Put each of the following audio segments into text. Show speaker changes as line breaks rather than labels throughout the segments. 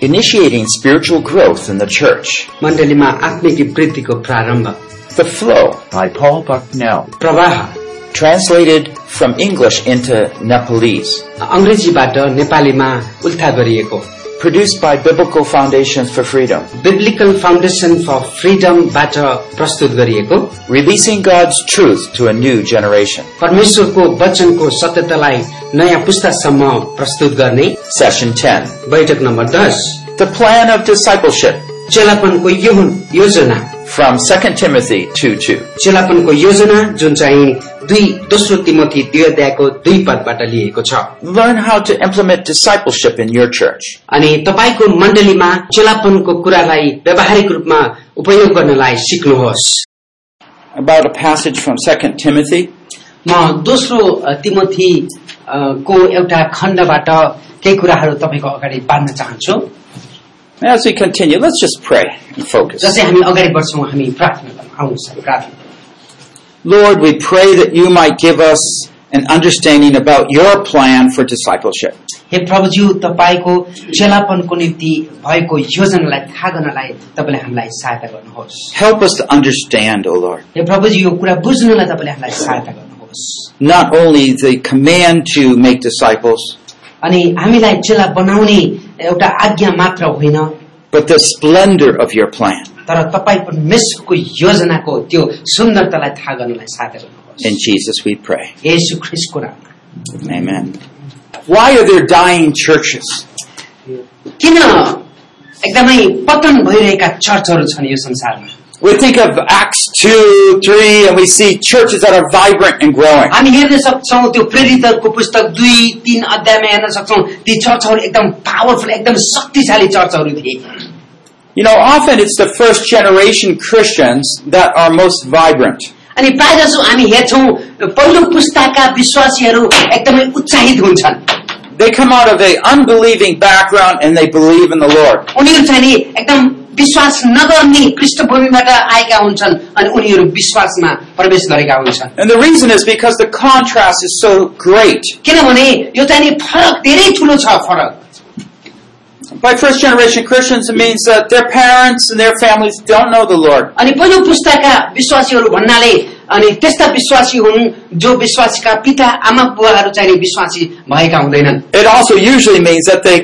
initiating spiritual growth in the church.
मण्डलीमा आत्मिक वृद्धिको प्रारम्भ
The Flow,
by Paul Bucknell.
प्रवाह
translated from English into Nepalese,
अङ्ग्रेजीबाट नेपालीमा उल्था गरिएको
produced by Biblical Foundations for Freedom,
Biblical Foundation for फ्रिडमबाट प्रस्तुत गरिएको
releasing God's truth to a new generation.
परमेश्वरको वचनको सत्यतालाई नयाँ पुस्तासम्म प्रस्तुत गर्ने
Session 10,
बैठक नम्बर दस
The Plan of Discipleship,
चेलापनको यो योजना
from 2 Timothy 2.2.
चेलापनको योजना जुन चाहिँ दुई दोस्रो तिमोथी दुई अध्यायको दुई पदबाट लिएको छ
Learn how to implement discipleship in your church.
अनि तपाईँको मण्डलीमा चेलापनको कुरालाई व्यावहारिक रूपमा उपयोग गर्नलाई सिक्नुहोस्
About a passage from 2 Timothy,
म दोस्रो अ, तिमोथी अ, को एउटा खण्डबाट केही कुराहरू तपाईँको अगाडि बाँध्न चाहन्छु
as we continue, let's just pray and focus.
जसै हामी अगाडि बढ्छौँ हामी प्रार्थना गर्न आउनुहोस् हामी प्रार्थना गरौँ।
Lord, we pray that you might give us an understanding about your plan for discipleship.
हे प्रभुज्यू तपाईँको चेलापनको निम्ति भएको योजनालाई थाहा गर्नलाई तपाईँले हामीलाई सहायता गर्नुहोस्
Help us to understand, O Lord,
हे प्रभुजी यो कुरा बुझ्नलाई तपाईँले हामीलाई सहायता गर्नुहोस्
not only the command to make disciples,
अनि हामीलाई चेला बनाउने एउटा आज्ञा मात्र होइन
but the splendor of your plan.
तर तपाईँ परमेश्वरको योजनाको त्यो सुन्दरतालाई थाहा गर्नलाई सहायता गर्नुहोस्
In Jesus we pray.
येशू ख्रिस्टको नाममा
Amen. Why are there dying churches?
किन एकदमै पतन भइरहेका चर्चहरू छन् यो संसारमा
We think of Acts 2, 3, and we see churches that are vibrant and growing.
हामी हेर्न सक्छौ त्यो प्रेरितहरूको पुस्तक दुई तीन अध्यायमा हेर्न सक्छौ ती चर्चहरू एकदम पावरफुल एकदम शक्तिशाली चर्चहरू थिए
You know, often it's the first generation Christians that are most vibrant.
अनि प्राय जसो हामी हेर्छौँ पहिलो पुस्ताका विश्वासीहरू एकदमै उत्साहित हुन्छन्
They come out of a unbelieving background and they believe in the Lord.
उनीहरू चाहिँ नि एकदम विश्वास नगर्ने पृष्ठभूमिबाट आएका हुन्छन् अनि उनीहरू विश्वासमा प्रवेश गरेका हुन्छन्
And the reason is because the contrast is so great.
किनभने यो चाहिँ नि फरक धेरै ठुलो छ फरक
By first generation Christians, it means that their parents and their families don't know the Lord.
अनि पहिलो पुस्ताका विश्वासीहरू भन्नाले अनि त्यस्ता विश्वासी हुन् जो विश्वासीका पिता आमा बुवाहरू चाहिँ नि विश्वासी भएका हुँदैनन्
It also usually means that they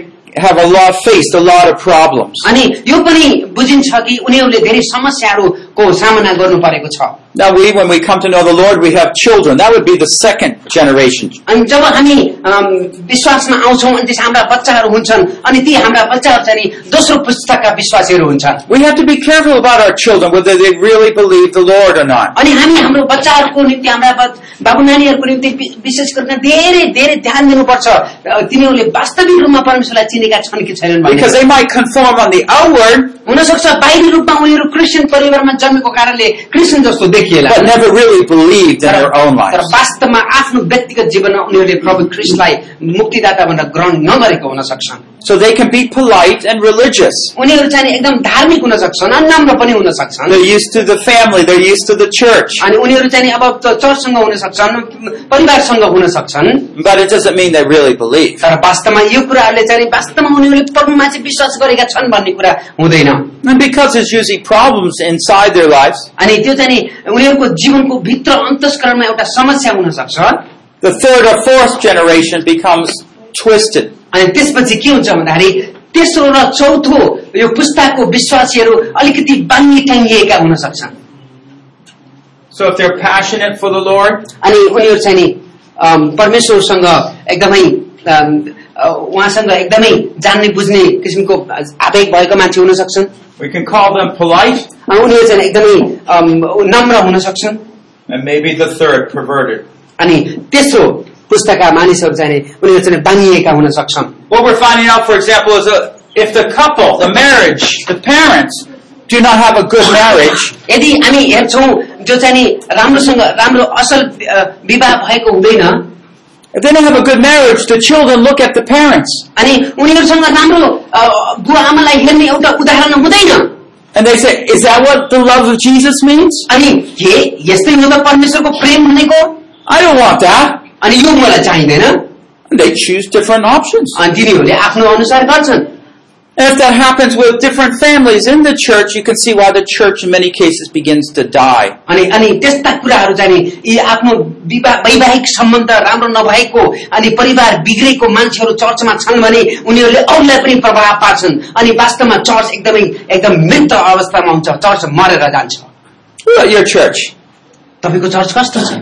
have a lot faced a lot of problems.
अनि यो पनि बुझिन्छ कि उनीहरूले धेरै समस्याहरूको सामना गर्नु परेको छ
Now we, when we come to know the Lord, we have children. That would be the second generation.
अनि जब हामी अम, विश्वासमा आउँछौँ अनि त्यसमा हाम्रा बच्चाहरू हुन्छन् अनि ती हाम्रा बच्चाहरू चाहिँ नि दोस्रो पुस्तकका विश्वासीहरू हुन्छन्
We have to be careful about our children, whether they really believe the Lord or not.
अनि हामी हाम्रो बच्चाहरूको निम्ति हाम्रा बच- बाबु नानीहरूको निम्ति वि- विशेष गरेर धेरै धेरै ध्यान दिनुपर्छ अ, तिनीहरूले वास्तविक रूपमा परमेश्वरलाई चिनेका छन् कि छैनन् भन्ने
Because they might conform on the outward,
हुनसक्छ बाहिरी रूपमा उनीहरू क्रिस्चियन परिवारमा जन्मेको कारणले क्रिस्चियन जस्तो देखिएला
but never really believed in
तर
their own
तर
lives.
वास्तवमा आफ्नो व्यक्तिगत जीवनमा उनीहरूले प्रभु क्रिस्टलाई मुक्तिदाता भनेर ग्रहण नगरेको हुन सक्छन्
So they can be polite and religious.
उनीहरू चाहिँ नि एकदम धार्मिक हुन सक्छन् अनि राम्रो पनि हुन सक्छन्
They're used to the family. They're used to the church.
अनि उनीहरू चाहिँ नि अब त चर्चसँग हुन सक्छन् परिवारसँग हुन सक्छन्
But it doesn't mean they really believe.
तर वास्तवमा यो कुराहरूले चाहिँ नि वास्तवमा उनीहरूले प्रभुमा चाहिँ विश्वास गरेका छन् भन्ने कुरा हुँदैन
And because there's usually problems inside their lives,
अनि त्यो चाहिँ नि उनीहरूको जीवनको भित्र अन्तस्करणमा एउटा समस्या हुन सक्छ
the third or fourth generation becomes twisted.
अनि त्यसपछि के हुन्छ भन्दाखेरि तेस्रो र चौथो यो पुस्ताको विश्वासीहरू अलिकति बाङ्गी टाङ्गिएका हुन सक्छन्
So if they're passionate for the Lord,
अनि उनीहरू चाहिँ नि अम, परमेश्वरसँग एकदमै अम, अ, उहाँसँग एकदमै जान्ने बुझ्ने किसिमको आवेग भएको मान्छे हुन सक्छन्
we can call them polite,
अनि उनीहरू चाहिँ एकदमै अम, नम्र हुन सक्छन्
and maybe the third, perverted.
अनि तेस्रो पुस्ताका मानिसहरू चाहिँ नि उनीहरू चाहिँ नि बानिएका हुन सक्छन्
What we're finding out, for example, is that if the couple, the marriage, the parents do not have a good marriage,
यदि हामी हेर्छौँ जो चाहिँ नि राम्रोसँग राम्रो असल अ, विवाह भएको हुँदैन
if they don't have a good marriage, the children look at the parents
अनि उनीहरूसँग राम्रो अ, बुवा आमालाई हेर्ने एउटा उदाहरण हुँदैन
and they say, is that what the love of Jesus means?
अनि के यस्तै हो त परमेश्वरको प्रेम भनेको
I don't want that.
अनि यो मलाई चाहिँदैन
They choose different options.
अनि तिनीहरूले आफ्नो अनुसार गर्छन्
And if that happens with different families in the church, you can see why the church in many cases begins to die.
अनि अनि त्यस्ता कुराहरू चाहिँ नि यी आफ्नो विवाह वैवाहिक सम्बन्ध राम्रो नभएको अनि परिवार बिग्रेको मान्छेहरू चर्चमा छन् भने उनीहरूले अरूलाई पनि प्रभाव पार्छन् अनि वास्तवमा चर्च एकदमै एकदम मृत अवस्थामा हुन्छ चर्च मरेर जान्छ
What about your church?
तपाईँको चर्च कस्तो छ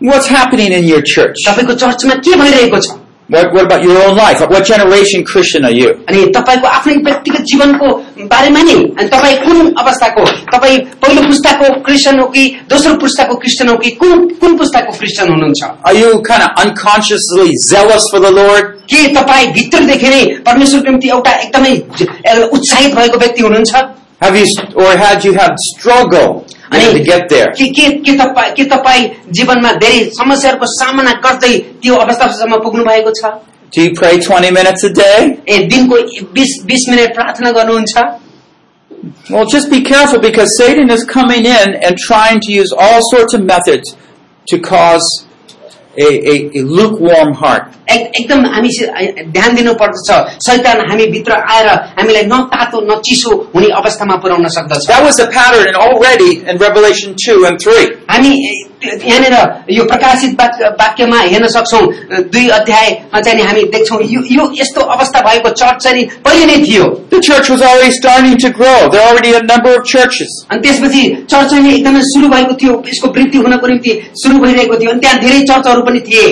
What's happening in your church?
तपाईँको चर्चमा के भइरहेको छ
What, what about your own life? What generation Christian are you?
अनि तपाईँको आफ्नै व्यक्तिगत जीवनको बारेमा नि अनि तपाईँ कुन अवस्थाको तपाईँ पहिलो पुस्ताको क्रिस्चियन हो कि दोस्रो पुस्ताको क्रिस्चियन हो कि कुन कुन पुस्ताको क्रिस्चियन हुनुहुन्छ
Are you kind of unconsciously zealous for the Lord?
के तपाईँ भित्रदेखि नै परमेश्वरको निम्ति एउटा एकदमै उत्साहित भएको व्यक्ति हुनुहुन्छ
Have you, or had you had struggle you know, to get there?
के के के तपाईँ के तपाईँ जीवनमा धेरै समस्याहरूको सामना गर्दै त्यो अवस्थासम्म पुग्नु भएको छ
Do you pray 20 minutes a day?
ए दिनको बिस बिस मिनट प्रार्थना गर्नुहुन्छ
Well, just be careful because Satan is coming in and trying to use all sorts of methods to cause a, a, a lukewarm heart.
एक, एकदम हामी ध्यान दिनुपर्दछ शैतान हामी भित्र आएर हामीलाई न तातो न चिसो हुने अवस्थामा पुर्याउन सक्दछ
That was the pattern already in Revelation 2 and 3.
हामी यहाँनिर यो प्रकाशित वाक- वाक्यमा हेर्न सक्छौँ दुई अध्यायमा चाहिँ नि हामी देख्छौँ यो यो यस्तो अवस्था भएको चर्च चाहिँ नि पहिले नै थियो
The church was already starting to grow. There are already a number of churches.
अनि त्यसपछि चर्च चाहिँ नि एकदमै सुरु भएको थियो यसको वृद्धि हुनको निम्ति सुरु भइरहेको थियो अनि त्यहाँ धेरै चर्चहरू पनि थिए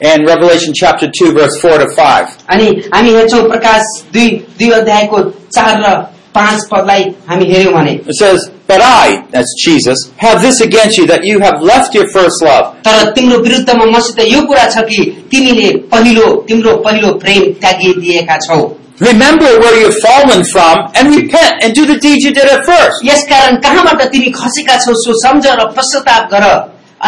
And Revelation chapter 2 verse 4 to 5.
अनि हामी हेर्छौँ प्रकाश दुई दुई अध्यायको चार र पाँच पदलाई हामी हेऱ्यौँ भने
It says, But I, that's Jesus, have this against you that you have left your first love.
तर तिम्रो विरुद्धमा मसित यो कुरा छ कि तिमीले पहिलो तिम्रो पहिलो प्रेम त्यागिदिएका छौ
Remember where you've fallen from and repent and do the deeds you did at first.
यसकारण कहाँबाट तिमी खसेका छौ सो सम्झ र पश्चाताप गर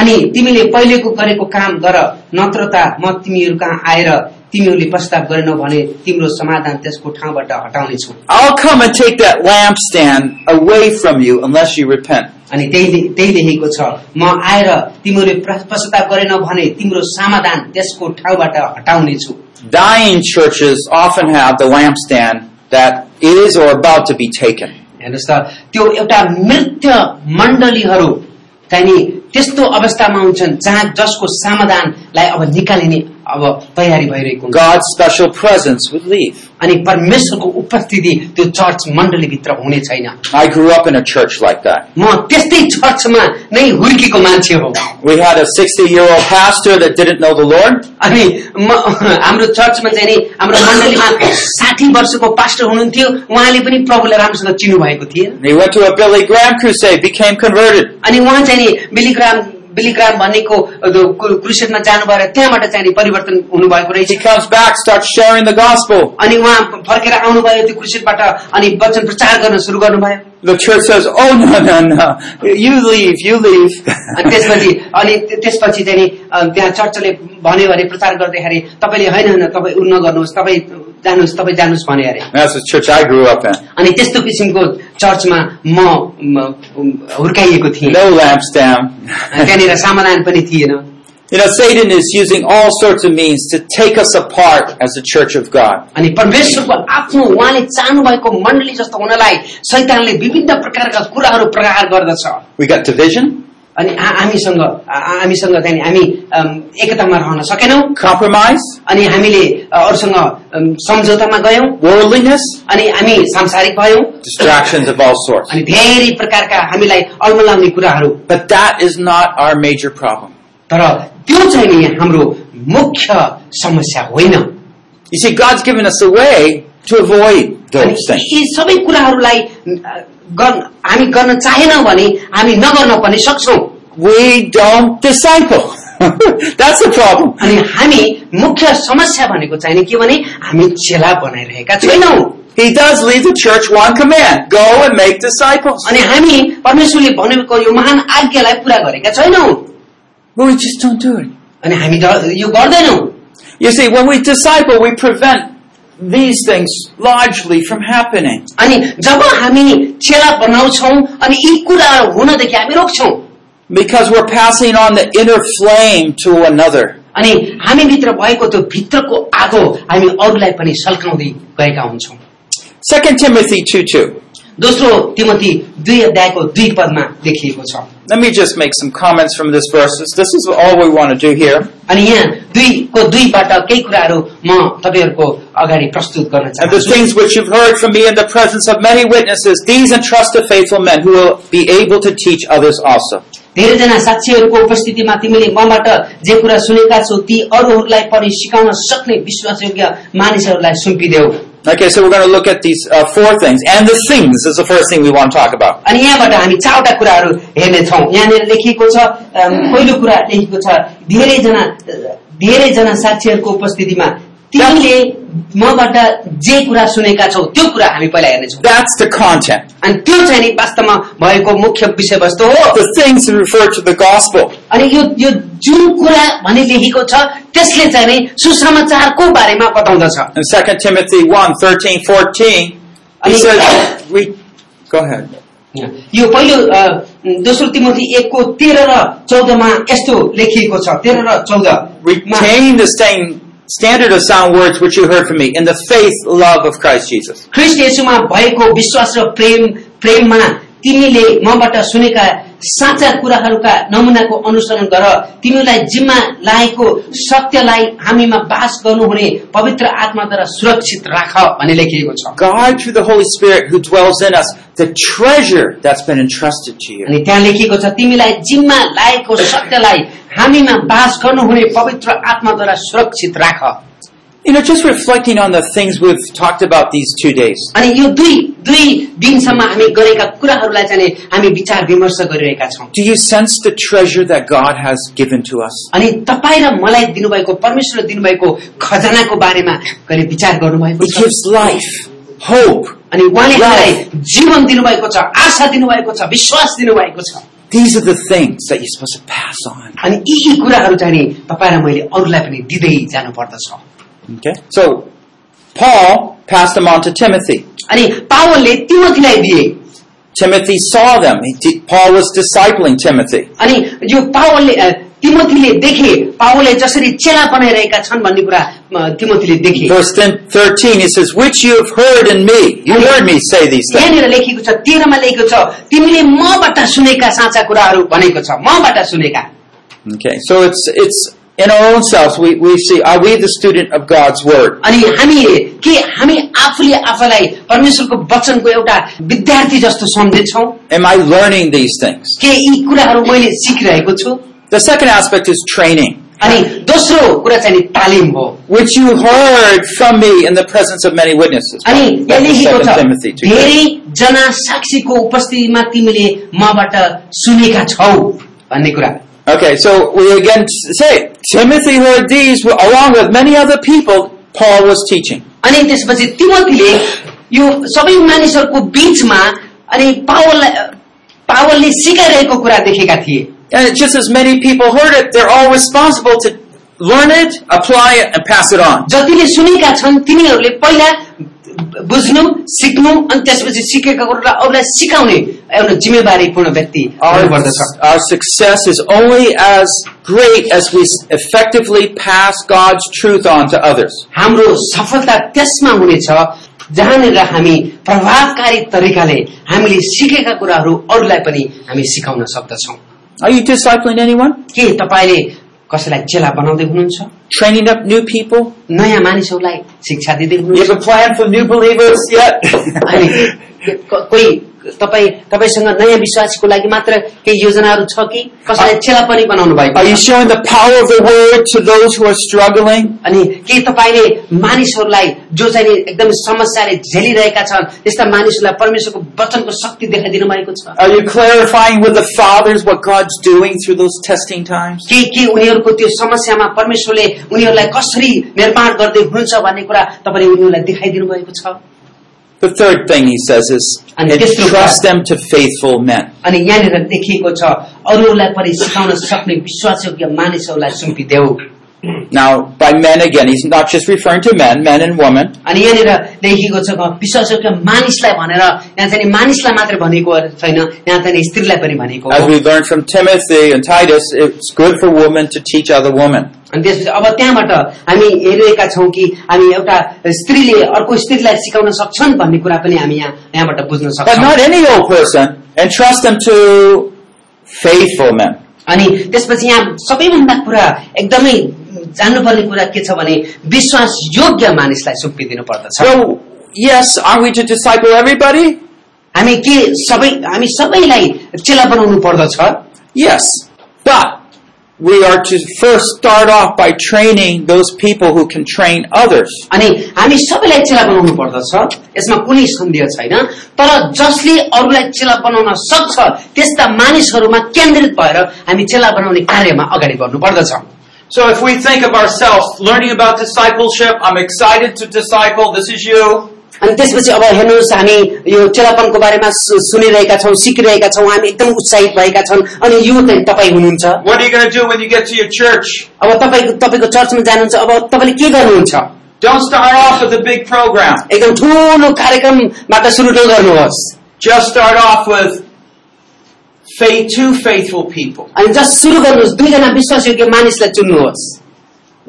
अनि तिमीले पहिलेको गरेको काम गर नत्र त म तिमीहरू कहाँ आएर तिमीहरूले पश्चाताप गरेनौ भने तिम्रो समाधान त्यसको ठाउँबाट हटाउनेछु
I'll come and take that lampstand away from you unless you repent.
अनि त्यही त्यही लेखेको छ म आएर तिमीहरूले प्र- पश्चाताप गरेनौ भने तिम्रो समाधान त्यसको ठाउँबाट हटाउनेछु
Dying churches often have the lampstand that is or about to be taken.
हेर्नुहोस् त त्यो एउटा मृत्य मण्डलीहरू चाहिँ नि त्यस्तो अवस्थामा हुन्छन् जहाँ जसको समाधानलाई अब निकालिने अब तयारी भइरहेको हुन्छ
God's special presence would leave.
अनि परमेश्वरको उपस्थिति त्यो चर्च मण्डलीभित्र हुने छैन
I grew up in a church like that.
म त्यस्तै चर्चमा नै हुर्किएको मान्छे हो
We had a 60 year old pastor that didn't know the Lord.
अनि म हाम्रो चर्चमा चाहिँ नि हाम्रो मण्डलीमा साठी वर्षको पास्टर हुनुहुन्थ्यो उहाँले पनि प्रभुलाई राम्रोसँग चिन्नु भएको थिएन
He went to a Billy Graham crusade, became converted.
अनि उहाँ चाहिँ नि बिलिग्राम बिलिग्राम भन्नेको क्रुसेडमा जानुभएर त्यहाँबाट चाहिँ नि परिवर्तन हुनुभएको रहेछ
He comes back, starts sharing the gospel.
अनि उहाँ फर्केर आउनुभयो त्यो क्रुसेडबाट अनि वचन प्रचार गर्न सुरु गर्नुभयो
The church says, Oh, no, no, no. You leave, you leave.
अनि त्यसपछि अनि त्यो- त्यसपछि चाहिँ नि अ, त्यहाँ चर्चले भन्यो भने प्रचार गर्दाखेरि तपाईँले होइन होइन तपाईँ उ नगर्नुहोस् तपाईँ जानुहोस् तपाईँ जानुहोस् भने अरे
That's the church I grew up in.
अनि त्यस्तो किसिमको चर्चमा म म, हुर्काइएको थिएँ
No lampstand.
अनि त्यहाँनिर समाधान पनि थिएन
You know, Satan is using all sorts of means to take us apart as the church of God.
अनि परमेश्वरको आफ्नो उहाँले चाहनुभएको मण्डली जस्तो हुनलाई शैतानले विभिन्न प्रकारका कुराहरू प्रहार गर्दछ
We got division,
अनि हा- हामीसँग हा- हामीसँग चाहिँ नि हामी अम, एकतामा रहन सकेनौँ
compromise,
अनि हामीले अ, अरूसँग अम, सम्झौतामा गयौँ
worldliness,
अनि हामी सांसारिक भयौँ
distractions of all sorts.
अनि धेरै प्रकारका हामीलाई अल्मलाउने कुराहरू
But that is not our major problem.
तर त्यो चाहिँ नि हाम्रो मुख्य समस्या होइन
You see, God's given us a way to avoid
अनि
those things.
यी सबै कुराहरूलाई अ, गर्न हामी गर्न चाहेनौँ भने हामी नगर्न पनि सक्छौँ
We don't disciple. That's the problem.
अनि हामी मुख्य समस्या भनेको चाहिँ नि के भने हामी चेला बनाइरहेका छैनौँ
He does leave the church one command. Go and make disciples.
अनि हामी परमेश्वरले भनेको यो महान आज्ञालाई पूरा गरेका छैनौँ
But we just don't do it.
अनि हामी ड- यो गर्दैनौँ
You see, when we disciple, we prevent these things largely from happening.
अनि जब हामी चेला बनाउँछौँ अनि यी कुराहरू हुनदेखि हामी रोक्छौँ
Because we're passing on the inner flame to another.
अनि हामीभित्र भएको त्यो भित्रको आगो हामी अरूलाई पनि सल्काउँदै गएका हुन्छौँ
2 Timothy 2 2.
दोस्रो तिमती दुई अध्यायको दुई पदमा देखिएको छ
Let me just make some comments from this verse. This- This is all we want to do here.
अनि यहाँ दुईको दुईबाट केही कुराहरू म तपाईँहरूको अगाडि प्रस्तुत गर्न
And the
चाहन्छु
things which you've heard from me in the presence of many witnesses, these entrust to faithful men who will be able to teach others also.
धेरैजना साक्षीहरूको उपस्थितिमा तिमीले मबाट जे कुरा सुनेका छौ ती अरूहरूलाई पनि सिकाउन सक्ने विश्वासयोग्य मानिसहरूलाई सुम्पिदेऊ
Okay, so we're going to look at these uh, four things. And the things is the first thing we want to talk about.
अनि यहाँबाट हामी चारवटा कुराहरू हेर्नेछौँ यहाँनिर लेखिएको छ अम, पहिलो कुरा लेखेको छ धेरैजना धेरैजना साक्षीहरूको उपस्थितिमा तिमीले मबाट जे कुरा सुनेका छौ त्यो कुरा हामी पहिला हेर्नेछौँ
That's the content.
अनि त्यो चाहिँ नि वास्तवमा भएको मुख्य विषयवस्तु हो
The things refer to the gospel.
अनि यो यो जुन कुरा भने लेखेको छ त्यसले चाहिँ नि सुसमाचारको बारेमा बताउँदछ
In 2 Timothy 1, 13, 14, he says, we, go ahead.
यो पहिलो अ, दोस्रो तिमोथी एकको तेह्र र चौधमा यस्तो लेखिएको छ तेह्र र चौध
Retain the same standard of sound words which you heard from me in the faith, love of Christ Jesus.
ख्रिस्ट येशूमा भएको विश्वास र प्रेम प्रेममा तिमीले मबाट सुनेका साँचा कुराहरूका नमुनाको अनुसरण गर तिमीलाई जिम्मा लागेको सत्यलाई हामीमा बास गर्नुहुने पवित्र आत्माद्वारा सुरक्षित राख भन्ने लेखिएको छ
Guard through the Holy Spirit who dwells in us the treasure that's been entrusted to you.
अनि त्यहाँ लेखिएको छ तिमीलाई जिम्मा लागेको सत्यलाई हामीमा बास गर्नुहुने पवित्र आत्माद्वारा सुरक्षित राख
You know, just reflecting on the things we've talked about these two days.
अनि यो दुई दुई दिनसम्म हामी गरेका कुराहरूलाई चाहिँ नि हामी विचार विमर्श गरिरहेका छौँ
Do you sense the treasure that God has given to us?
अनि तपाईँ र मलाई दिनुभएको परमेश्वरले दिनुभएको खजनाको बारेमा कहिले विचार गर्नुभएको
It
छ
gives life, hope.
अनि उहाँले हामीलाई जीवन दिनुभएको छ आशा दिनुभएको छ विश्वास दिनुभएको छ
These are the things that you're supposed to pass on.
अनि यी यी कुराहरू चाहिँ नि तपाईँ र मैले अरूलाई पनि दिँदै जानुपर्दछ
Okay? So, Paul passed them on to Timothy.
अनि पावलले तिमोथीलाई दिए
Timothy saw them. He t- Paul was discipling Timothy.
अनि यो पावलले अ, तिमोथीले देखे पावलले जसरी चेला बनाइरहेका छन् भन्ने कुरा अ, तिमोथीले देखे
Verse 10, 13, he says, Which you have heard in me. You heard me say these things.
यहाँनिर लेखिएको छ तेह्रमा लेखेको छ तिमीले मबाट सुनेका साँचा कुराहरू भनेको छ मबाट सुनेका
Okay, so it's, it's in our own selves. We, we see, are we the student of God's word?
अनि हामी के हामी आफूले आफूलाई परमेश्वरको वचनको एउटा विद्यार्थी जस्तो सम्झेछौ
Am I learning these things?
के यी कुराहरू मैले सिकिरहेको छु
The second aspect is training,
अनि दोस्रो कुरा चाहिँ नि तालिम हो
which you heard from me in the presence of many witnesses.
अनि यहाँ
That's
लेखेको
2
छ
Timothy 2.
धेरैजना साक्षीको उपस्थितिमा तिमीले मबाट सुनेका छौ भन्ने कुरा
Okay, so we again say Timothy heard these along with many other people. Paul was teaching.
अनि त्यसपछि तिमोथीले यो सबै मानिसहरूको बीचमा अनि पावललाई पावलले सिकाइरहेको कुरा देखेका थिए
And just as many people heard it, they're all responsible to learn it, apply it, and pass it on.
जतिले सुनेका छन् तिनीहरूले पहिला बुझ्नु सिक्नु अनि त्यसपछि सिकेका कुरालाई अरूलाई सिकाउने एउटा जिम्मेवारीपूर्ण व्यक्ति
Our,
हुनुपर्दछ
our success is only as great as we effectively pass God's truth on to others.
हाम्रो सफलता त्यसमा हुनेछ जहाँनिर हामी प्रभावकारी तरिकाले हामीले सिकेका कुराहरू अरूलाई पनि हामी सिकाउन सक्दछौ
Are you discipling anyone?
के तपाईँले कसैलाई चेला बनाउँदै हुनुहुन्छ
Training up new people?
नयाँ मानिसहरूलाई शिक्षा दिँदै
You
हुनुहुन्छ
have a plan for new believers yet?
अनि को- कोही तपाईँ तपाईँसँग नयाँ विश्वासको लागि मात्र केही योजनाहरू छ कि कसैलाई चेला पनि बनाउनु
Are
भएको
you
छ?
showing the power of the word to those who are struggling?
अनि के तपाईँले मानिसहरूलाई जो चाहिँ नि एकदम समस्याले झेलिरहेका छन् त्यस्ता मानिसहरूलाई परमेश्वरको वचनको शक्ति देखाइदिनु भएको छ
Are you clarifying with the fathers what God's doing through those testing times?
के के उनीहरूको त्यो समस्यामा परमेश्वरले उनीहरूलाई कसरी निर्माण गर्दै हुनुहुन्छ भन्ने कुरा तपाईँले उनीहरूलाई देखाइदिनु भएको छ
The third thing he says is
And this is
trust them to faithful men.
अनि यहाँनिर देखिएको छ अरूलाई पनि सिकाउन सक्ने विश्वासयोग्य मानिसहरूलाई सुम्पिदेऊ
Now, by men again, he's not just referring to men, men and women.
अनि यहाँनिर लेखिएको छ विश्वासका मानिसलाई भनेर यहाँ चाहिँ नि मानिसलाई मात्र भनेको छैन यहाँ चाहिँ नि स्त्रीलाई पनि भनेको हो।
As we learned from Timothy and Titus, it's good for women to teach other women.
अनि त्यसपछि अब त्यहाँबाट हामी हेरेका छौँ कि हामी एउटा स्त्रीले अर्को स्त्रीलाई सिकाउन सक्छन् भन्ने कुरा पनि हामी यहाँ यहाँबाट बुझ्न
But
सक्छौँ
not any old person, entrust them to faithful men.
अनि त्यसपछि यहाँ सबैभन्दा कुरा एकदमै जान्नुपर्ने कुरा के छ भने विश्वास योग्य मानिसलाई सुम्पिदिनु पर्दछ
So, yes, are we to disciple everybody?
हामी के सबै हामी सबैलाई चेला बनाउनु पर्दछ
Yes. But we are to first start off by training those people who can train others.
अनि हामी सबैलाई चेला बनाउनु पर्दछ यसमा कुनै सन्देह छैन तर जसले अरूलाई चेला बनाउन सक्छ त्यस्ता मानिसहरूमा केन्द्रित भएर हामी चेला बनाउने कार्यमा अगाडि बढ्नु पर्दछ
So if we think of ourselves learning about discipleship, I'm excited to disciple, this is you.
अनि त्यसपछि अब हेर्नुहोस् हामी यो चेलापनको बारेमा सु- सुनिरहेका छौँ सिकिरहेका छौँ हामी एकदम उत्साहित भएका छौँ अनि यो चाहिँ तपाईँ हुनुहुन्छ
What are you going to do when you get to your church?
अब तपाईँको तपाईँको चर्चमा जानुहुन्छ अब तपाईँले के गर्नुहुन्छ
Don't start off with a big program.
एकदम ठुलो कार्यक्रमबाट सुरु नगर्नुहोस्
Just start off with faith, two faithful people.
अनि जस्ट सुरु गर्नुहोस् दुईजना विश्वासयोग्य मानिसलाई चुन्नुहोस्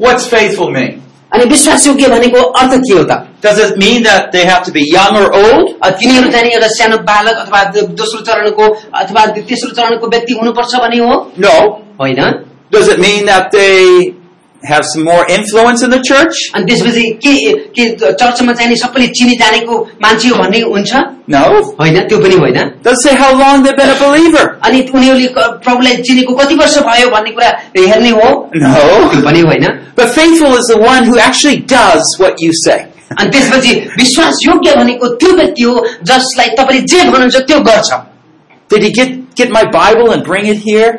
What's faithful mean?
अनि विश्वासयोग्य भनेको अर्थ के हो त
Does it mean that they have to be young or old?
अ, तिनीहरू चाहिँ नि एउटा सानो बालक अथवा दो- दोस्रो चरणको अथवा तेस्रो चरणको व्यक्ति हुनुपर्छ भने हो
No.
होइन
Does it mean that they have some more influence in the church?
अनि त्यसपछि के के चर्चमा चाहिँ नि सबैले चिनी जानेको मान्छे हो भन्ने हुन्छ
No.
होइन त्यो पनि होइन
Does it say how long they've been a believer?
अनि उनीहरूले क- प्रभुलाई चिनेको कति वर्ष भयो भन्ने कुरा हेर्ने हो त्यो
No.
पनि होइन
But faithful is the one who actually does what you say.
अनि त्यसपछि विश्वास योग्य भनेको त्यो व्यक्ति हो जसलाई तपाईँले जे भन्नुहुन्छ त्यो गर्छ
Did he get, get my Bible and bring it here?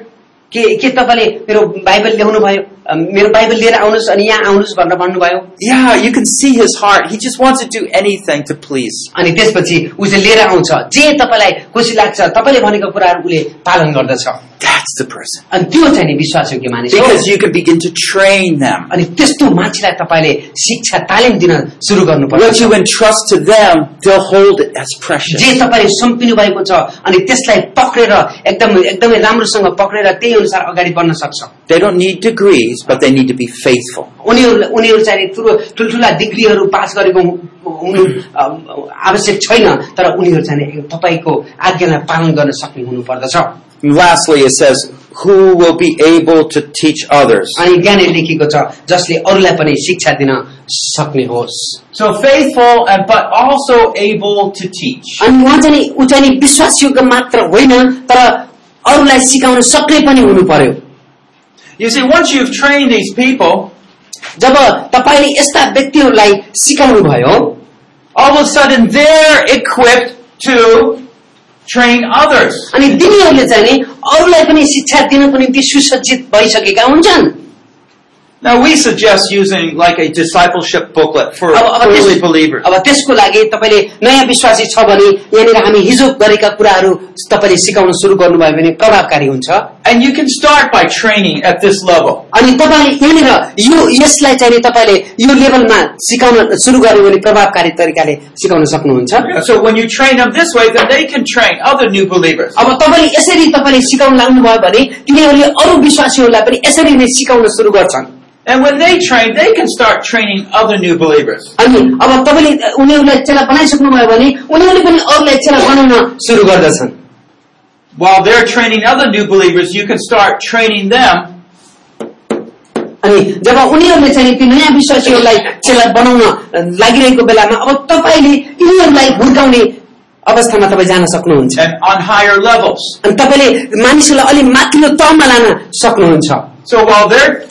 के के तपाईँले मेरो बाइबल ल्याउनु भयो अ, मेरो बाइबल लिएर आउनुहोस् अनि यहाँ आउनुहोस् भनेर भन्नुभयो
Yeah, you can see his heart. He just wants to do anything to please.
अनि त्यसपछि उसले लिएर आउँछ जे तपाईँलाई खुसी लाग्छ तपाईँले भनेको कुराहरू उसले पालन गर्दछ
That's the person.
अनि त्यो चाहिँ नि विश्वासयोग्य मानिस हो
Because you can begin to train them.
अनि त्यस्तो मान्छेलाई तपाईँले शिक्षा तालिम दिन सुरु
What
गर्नुपर्छ
you entrust to them, they'll hold it as
J
precious.
तपाईँले सुम्पिनु भएको छ अनि त्यसलाई पक्रेर एकदम एकदमै राम्रोसँग पक्रेर त्यही अनुसार अगाडि बढ्न सक्छ
They don't need degrees, but they need to be faithful.
उनीहरू उनीहरू चाहिँ नि ठुलो ठुल्ठुला डिग्रीहरू पास गरेको हु- हुनु अ, आवश्यक छैन तर उनीहरू चाहिँ नि तपाईँको आज्ञालाई पालन गर्न सक्ने हुनुपर्दछ
And lastly, it says, who will be able to teach others?
अनि ज्ञानै लेखिएको छ जसले अरूलाई पनि शिक्षा दिन सक्ने होस्
So faithful and but also able to teach.
अनि उहाँ चाहिँ नि ऊ चाहिँ नि विश्वासयोग्य मात्र होइन तर अरूलाई सिकाउन सक्ने पनि हुनु पर्यो
You see, once you've trained these people,
जब तपाईँले यस्ता व्यक्तिहरूलाई सिकाउनु भयो
all of a sudden they're equipped to train others.
अनि तिनीहरूले चाहिँ नि अरूलाई पनि शिक्षा दिनको निम्ति सुसज्जित भइसकेका हुन्छन्
Now we suggest using like a discipleship booklet for
अब अब
early
त्यस-
believers.
अब त्यसको लागि तपाईँले नयाँ विश्वासी छ भने यहाँनिर हामी हिजो गरेका कुराहरू तपाईँले सिकाउन सुरु गर्नुभयो भने प्रभावकारी हुन्छ
And you can start by training at this level.
अनि तपाईँले यहाँनिर यो यसलाई चाहिँ नि तपाईँले यो लेभलमा सिकाउन सुरु गर्यो भने प्रभावकारी तरिकाले सिकाउन सक्नुहुन्छ
So when you train them this way, then they can train other new believers.
अब तपाईँले यसरी तपाईँले सिकाउन लाग्नुभयो भने तिनीहरूले अरू विश्वासीहरूलाई पनि यसरी नै सिकाउन सुरु गर्छन्
And when they train, they can start training other new believers.
अनि अब तपाईँले उनीहरूलाई चेला बनाइसक्नुभयो भने उनीहरूले पनि अरूलाई चेला बनाउन सुरु गर्दछन्
While they're training other new believers, you can start training them
अनि जब उनीहरूले चाहिँ ती नयाँ विश्वासीहरूलाई चेला बनाउन लागिरहेको बेलामा अब तपाईँले यिनीहरूलाई हुर्काउने अवस्थामा तपाईँ जान सक्नुहुन्छ
and on higher levels.
अनि तपाईँले मानिसहरूलाई अलिक माथिल्लो तहमा लान सक्नुहुन्छ
So while they're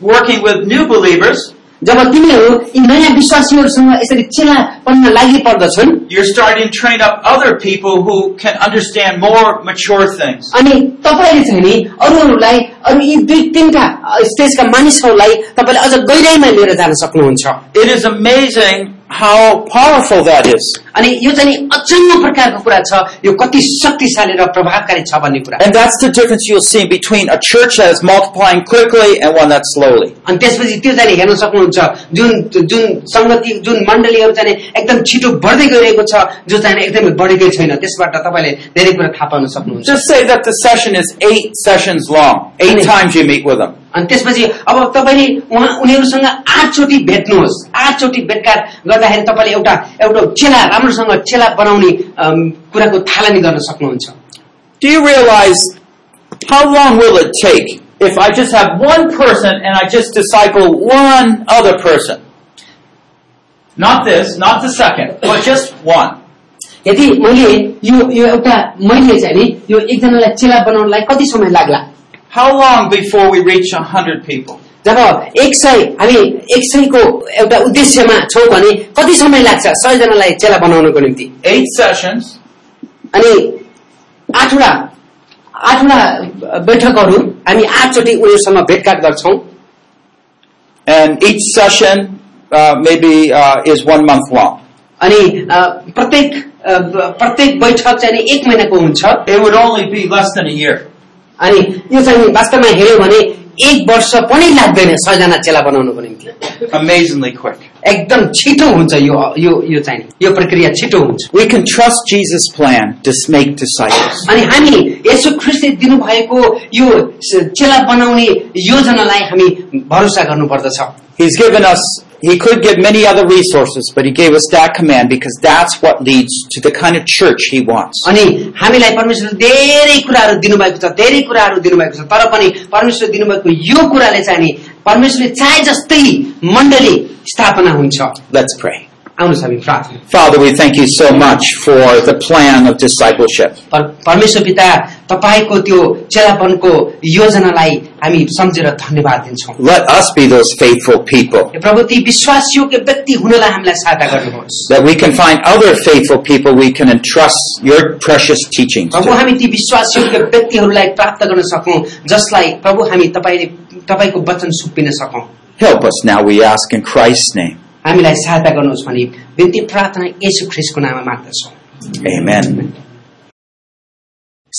working with new believers,
जब तिनीहरू यी नयाँ विश्वासीहरूसँग यसरी चेला बन्न लागि पर्दछन्
you're starting to train up other people who can understand more mature things.
अनि तपाईँले चाहिँ नि अरूहरूलाई अरू यी दुई तिनवटा स्टेजका मानिसहरूलाई तपाईँले अझ गहिराईमा लिएर जान सक्नुहुन्छ
It is amazing
how powerful that is.
अनि यो चाहिँ नि अचम्म प्रकारको कुरा छ यो कति शक्तिशाली र प्रभावकारी छ भन्ने कुरा
And that's the difference you'll see between a church that is multiplying quickly and one that's slowly.
अनि त्यसपछि त्यो चाहिँ नि हेर्न सक्नुहुन्छ जुन जुन सङ्गति जुन मण्डलीहरू चाहिँ नि एकदम छिटो बढ्दै गइरहेको छ जो चाहिँ नि एकदमै बढेकै छैन त्यसबाट तपाईँले धेरै कुरा थाहा पाउन सक्नुहुन्छ
Just say that the session is eight sessions long, eight
Mhm.
times you meet with them.
अनि त्यसपछि अब तपाईँले उहाँ उनीहरूसँग आठचोटि भेट्नुहोस् आठचोटि भेटघाट गर्दाखेरि तपाईँले एउटा एउटा चेला राम्रोसँग चेला बनाउने अम, कुराको थालनी गर्न सक्नुहुन्छ
Do you realize how long will it take if I just have one person and I just disciple one other person?
Not this, not the second, but just one.
यदि मैले यो यो एउटा मैले चाहिँ नि यो एकजनालाई चेला बनाउनलाई कति समय लाग्ला
How long before we reach a hundred people?
जब एक सय हामी एक सयको एउटा उद्देश्यमा छौँ भने कति समय लाग्छ सयजनालाई चेला बनाउनको निम्ति
Eight sessions,
अनि आठवटा आठवटा बैठकहरू हामी आठचोटि उनीहरूसँग भेटघाट गर्छौँ
And each session uh, maybe uh, is one month long.
अनि अ, प्रत्येक अ, प्रत्येक बैठक चाहिँ नि एक महिनाको हुन्छ
it would only be less than a year.
अनि यो चाहिँ नि वास्तवमा हेऱ्यो भने एक वर्ष पनि लाग्दैन सयजना चेला बनाउनको निम्ति
Amazingly quick.
एकदम छिटो हुन्छ यो यो यो चाहिँ नि, यो प्रक्रिया छिटो हुन्छ
We can trust Jesus' plan to make disciples.
अनि हामी यसो ख्रिस्टले दिनुभएको यो स- चेला बनाउने योजनालाई हामी भरोसा गर्नुपर्दछ
He's given us, he could give many other resources, but he gave us that command because that's what leads to the kind of church he wants.
अनि हामीलाई परमेश्वरले धेरै कुराहरू दिनुभएको छ धेरै कुराहरू दिनुभएको छ तर पनि परमेश्वरले दिनुभएको यो कुराले चाहिँ नि परमेश्वरले चाहे जस्तै मण्डली स्थापना हुन्छ
Let's pray.
आउनुहोस् हामी प्रार्थना
Father, we thank you so much for the plan of discipleship.
पर परमेश्वर पिता तपाईँको त्यो चेलापनको योजनालाई हामी सम्झेर धन्यवाद दिन्छौँ
Let us be those faithful people,
हे प्रभु ती विश्वासयोग्य व्यक्ति हुनलाई हामीलाई सहायता गर्नुहोस्
that we can find other faithful people we can entrust your precious teachings
Prabhu
to.
हामी ती विश्वासयोग्य व्यक्तिहरूलाई प्राप्त गर्न सकौं जसलाई प्रभु हामी तपाईँले तपाईँको वचन Supin सकौं
Help us now, we ask in Christ's name.
हामीलाई सहायता गर्नुहोस् भनी बिन्ती प्रार्थना येशू ख्रिस्टको नाममा माग्दछौँ
Amen.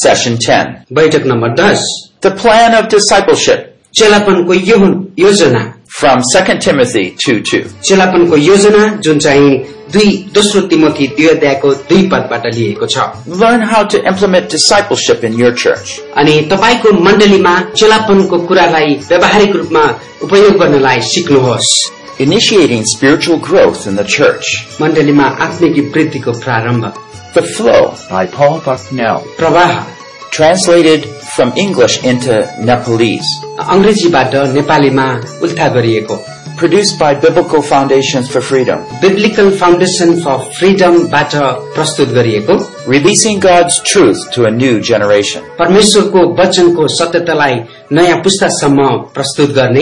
Session 10.
बैठक नम्बर दस
The plan of discipleship
चेलापनको यो योजना
from 2 Timothy 2 2.
चेलापनको योजना जुन चाहिँ दुई दोस्रो तिमोथी दुई अध्यायको दुई पदबाट लिएको छ
Learn how to implement discipleship in your church.
अनि तपाईँको मण्डलीमा चेलापनको कुरालाई व्यावहारिक रूपमा उपयोग गर्नलाई सिक्नुहोस्
Initiating spiritual growth in the church.
मण्डलीमा आत्मिक वृद्धिको प्रारम्भ
The Flow by Paul Bucknell.
प्रवाह
Translated from English into Nepalese.
अङ्ग्रेजीबाट नेपालीमा उल्था गरिएको
Produced by Biblical Foundations for Freedom.
Biblical Foundation for फ्रिडमबाट प्रस्तुत गरिएको
Releasing God's truth to a new generation.
परमेश्वरको वचनको सत्यतालाई नयाँ पुस्तासम्म प्रस्तुत गर्ने